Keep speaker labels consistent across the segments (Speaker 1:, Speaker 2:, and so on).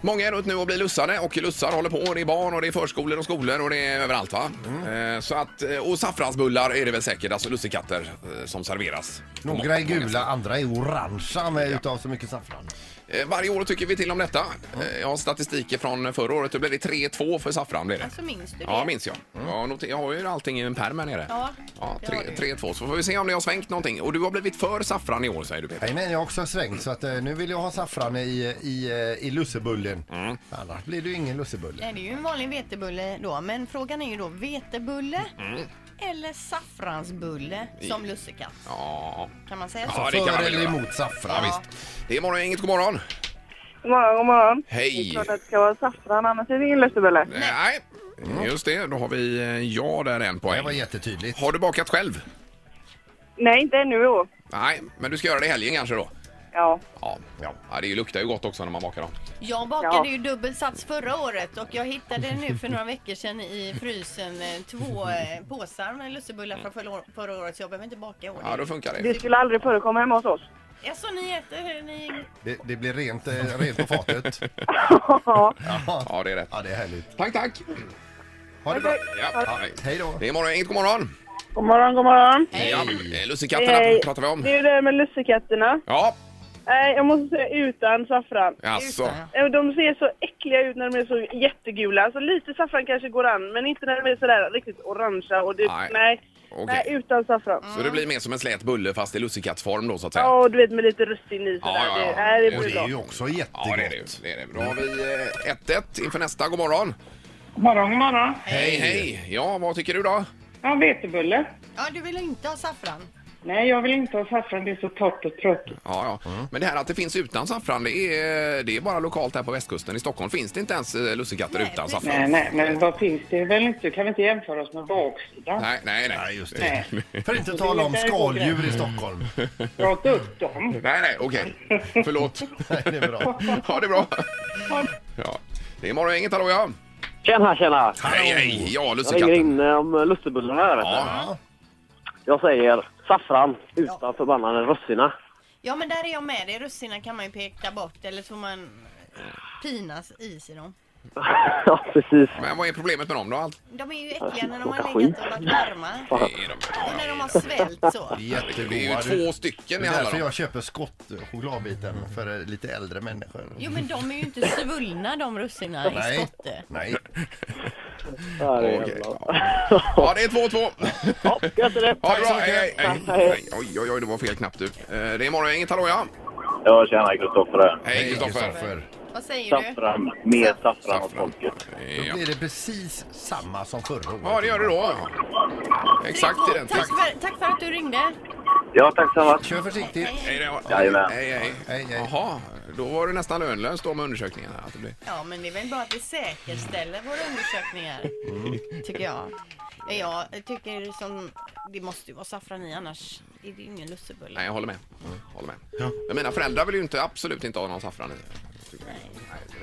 Speaker 1: Många är runt nu och blir lussare och lussar håller på. Det är barn och det är förskolor och skolor och det är överallt va?
Speaker 2: Mm.
Speaker 1: Eh, Så att, eh, och saffransbullar är det väl säkert, alltså lussekatter eh, som serveras.
Speaker 2: Några är gula, andra är orangea med utav så mycket saffran.
Speaker 1: Eh, Varje år tycker vi till om detta. Eh, Jag har statistiker från förra året, då blev det 3-2 för saffran. Blev det.
Speaker 3: Alltså minns du det?
Speaker 1: Ja, minns jag.
Speaker 2: Mm.
Speaker 1: Jag, noter, jag har ju allting i en pärm här nere.
Speaker 3: Ja,
Speaker 1: ja
Speaker 3: det har du ju.
Speaker 1: 3-2, så får vi se om det har svängt någonting. Och du har blivit för saffran i år säger du Peter.
Speaker 2: Nej, men jag har också svängt så att eh, nu vill jag ha saffran i, i, eh, i lussebullen.
Speaker 1: Mm.
Speaker 2: Annars blir det ju ingen lussebulle.
Speaker 3: Nej, det är ju en vanlig vetebulle då, men frågan är ju då vetebulle
Speaker 1: Mm.
Speaker 3: eller saffransbulle som lussekatt.
Speaker 1: Ja,
Speaker 3: Kan man säga så?
Speaker 1: Ja, det kan man
Speaker 2: För
Speaker 1: väl
Speaker 2: eller
Speaker 1: göra.
Speaker 2: emot saffran.
Speaker 1: ja visst. Det är morgon, inget god morgon.
Speaker 4: God morgon, god morgon.
Speaker 1: Hej.
Speaker 4: Det är klart att det ska vara saffran, annars är det ingen lussebulle.
Speaker 1: Nej, just det. Då har vi eh, ja där en
Speaker 2: Mm. Det
Speaker 1: poäng.
Speaker 2: var jättetydligt.
Speaker 1: Har du bakat själv?
Speaker 4: Nej, inte ännu i år.
Speaker 1: Nej, men du ska göra det i helgen kanske då?
Speaker 4: Ja.
Speaker 1: Ja, ja. ja det är ju- luktar ju gott också när man bakar dem.
Speaker 3: Jag bakade
Speaker 4: Ja.
Speaker 3: ju dubbel sats förra året och jag hittade nu för några veckor sedan i frysen eh, två eh, påsar med lussebullar från förra, år- förra året så jag behöver inte baka i år.
Speaker 1: Ja, då funkar det.
Speaker 4: Det skulle aldrig förekomma hemma hos oss.
Speaker 3: Jaså, ni äter, ni...
Speaker 2: Det, det blir rent, eh, rent på fatet.
Speaker 4: Ja.
Speaker 1: Ja, det är rätt.
Speaker 2: Ja, det är härligt.
Speaker 1: Tack, tack!
Speaker 2: Ha det bra.
Speaker 1: Ja, hej.
Speaker 2: Hej då.
Speaker 1: det är morgon, inget god morgon!
Speaker 4: God morgon, god morgon.
Speaker 1: Hej! Ja, eh, lussekatterna
Speaker 4: Hej.
Speaker 1: pratar vi om.
Speaker 4: Det är ju det här med lussekatterna.
Speaker 1: Ja,
Speaker 4: Nej, jag måste säga utan saffran.
Speaker 1: alltså.
Speaker 3: Utan,
Speaker 4: Eh, De ser så äckliga ut när de är så jättegula. Alltså lite saffran kanske går an, men inte när de är sådär riktigt orangea och det...
Speaker 1: Nej.
Speaker 4: Nej. Nej.
Speaker 1: Okej.
Speaker 4: utan saffran.
Speaker 1: Så det blir mer som en slät bulle fast i lussekattsform då så att säga.
Speaker 4: Ja, och du vet med lite russin i sådär.
Speaker 1: Ja, ja, ja.
Speaker 4: Det, nej, det
Speaker 2: Och
Speaker 4: blir
Speaker 2: det är
Speaker 4: bra.
Speaker 2: ju också
Speaker 1: Ja, det är det ju.
Speaker 2: jättegott.
Speaker 1: Det är det. Då har vi eh, 1-1 inför nästa. God morgon!
Speaker 5: God morgon, god morgon.
Speaker 1: Hej, hej! Ja, vad tycker du då?
Speaker 5: Ja, vetebulle.
Speaker 3: ja, du vill inte ha saffran?
Speaker 5: Nej, jag vill inte ha saffran. Det är så torrt och tråkigt.
Speaker 1: Ja, ja. Men det här att det finns utan saffran, det är, det är bara lokalt här på västkusten. I Stockholm finns det inte ens eh, lussekatter
Speaker 3: Nej,
Speaker 1: utan
Speaker 3: precis.
Speaker 1: saffran.
Speaker 5: Nej, nej, men vad finns det väl inte? Du kan vi inte jämföra oss med baksidan?
Speaker 1: Nej, nej, nej.
Speaker 2: Ja, just det.
Speaker 5: Nej.
Speaker 2: För att inte tala om skaldjur i Stockholm.
Speaker 5: Prata upp dem.
Speaker 1: Nej, nej, okej. Förlåt.
Speaker 2: Nej, det är bra.
Speaker 1: Ja, det är bra. Ja. Det är morgongänget, hallå ja.
Speaker 6: Tjena, tjena!
Speaker 1: Hej, hej. Ja,
Speaker 6: Jag ringer
Speaker 1: lussekatten.
Speaker 6: in eh, om eh, lussebullarna här. vet du.
Speaker 1: Ja.
Speaker 6: Jag säger saffran utan förbannade russina.
Speaker 3: Ja, men där är jag med dig. Russinen kan man ju peka bort eller så får man eh, pinas is i dem.
Speaker 6: ja, precis.
Speaker 1: Men vad är problemet med dem då? Allt?
Speaker 3: De är ju äckliga när de har legat och varit varma.
Speaker 1: Det är de.
Speaker 3: Och när de har svält så.
Speaker 2: Jättegoda.
Speaker 1: Det är ju två stycken
Speaker 2: Det
Speaker 1: i
Speaker 2: är
Speaker 1: alla
Speaker 2: därför
Speaker 1: dem.
Speaker 2: jag köper skottchokladbiten för eh, lite äldre människor.
Speaker 3: Jo men de är ju inte svullna de russina i
Speaker 2: Nej.
Speaker 3: skotte.
Speaker 2: Nej.
Speaker 6: Ja, det är
Speaker 1: Okej,
Speaker 6: jävla-
Speaker 1: Ja, det är 2-2.
Speaker 6: Ja, gött är det!
Speaker 1: Ha
Speaker 6: Ja,
Speaker 1: det bra. Hej, hej, hej. Oj, oj, oj, det var fel knapp du. Eh, Det är morgongänget, hallå ja.
Speaker 7: Ja, tjena Kristoffer här.
Speaker 1: Hej, Kristoffer.
Speaker 2: Kristoffer.
Speaker 3: Vad säger du?
Speaker 7: Saffran, mer saffran åt
Speaker 1: Saffran.
Speaker 7: folket.
Speaker 2: Då
Speaker 1: Ja.
Speaker 2: blir det precis samma som förra året.
Speaker 1: Ja, det gör du då. Exakt i den.
Speaker 3: Tack för, tack för att du ringde.
Speaker 7: Ja, tack så mycket.
Speaker 2: Kör försiktigt.
Speaker 1: Hej då.
Speaker 7: Jajamän.
Speaker 1: Hej, hej.
Speaker 2: Hej, hej.
Speaker 1: Jaha, då var du nästan lönlös då med undersökningen. Här, att det blir...
Speaker 3: Ja men det är väl bara att vi säkerställer våra undersökningar. Tycker jag. Jag tycker som, det måste ju vara saffran i annars är det ju ingen lussebulle.
Speaker 1: Nej, jag håller med. Håller med. Men mina föräldrar vill ju inte, absolut inte ha någon saffran i.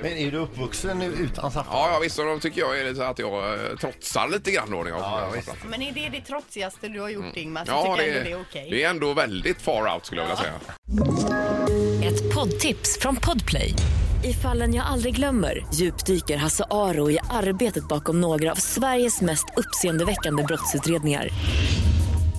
Speaker 2: Men är du uppvuxen nu utan saffran?
Speaker 1: Ja, ja visst. Och de tycker jag är lite så att jag eh, trotsar lite grann då. När jag
Speaker 2: Ja,
Speaker 1: jag
Speaker 2: visst.
Speaker 1: saffran.
Speaker 3: Men är det det trotsigaste du har gjort Ingmar så
Speaker 1: ja
Speaker 3: tycker jag ändå Mm. det är okej.
Speaker 1: det är ändå väldigt far out skulle jag vilja säga.
Speaker 8: Ett poddtips från Podplay. I fallen jag aldrig glömmer djupdyker Hasse Aro i arbetet bakom några av Sveriges mest uppseendeväckande brottsutredningar.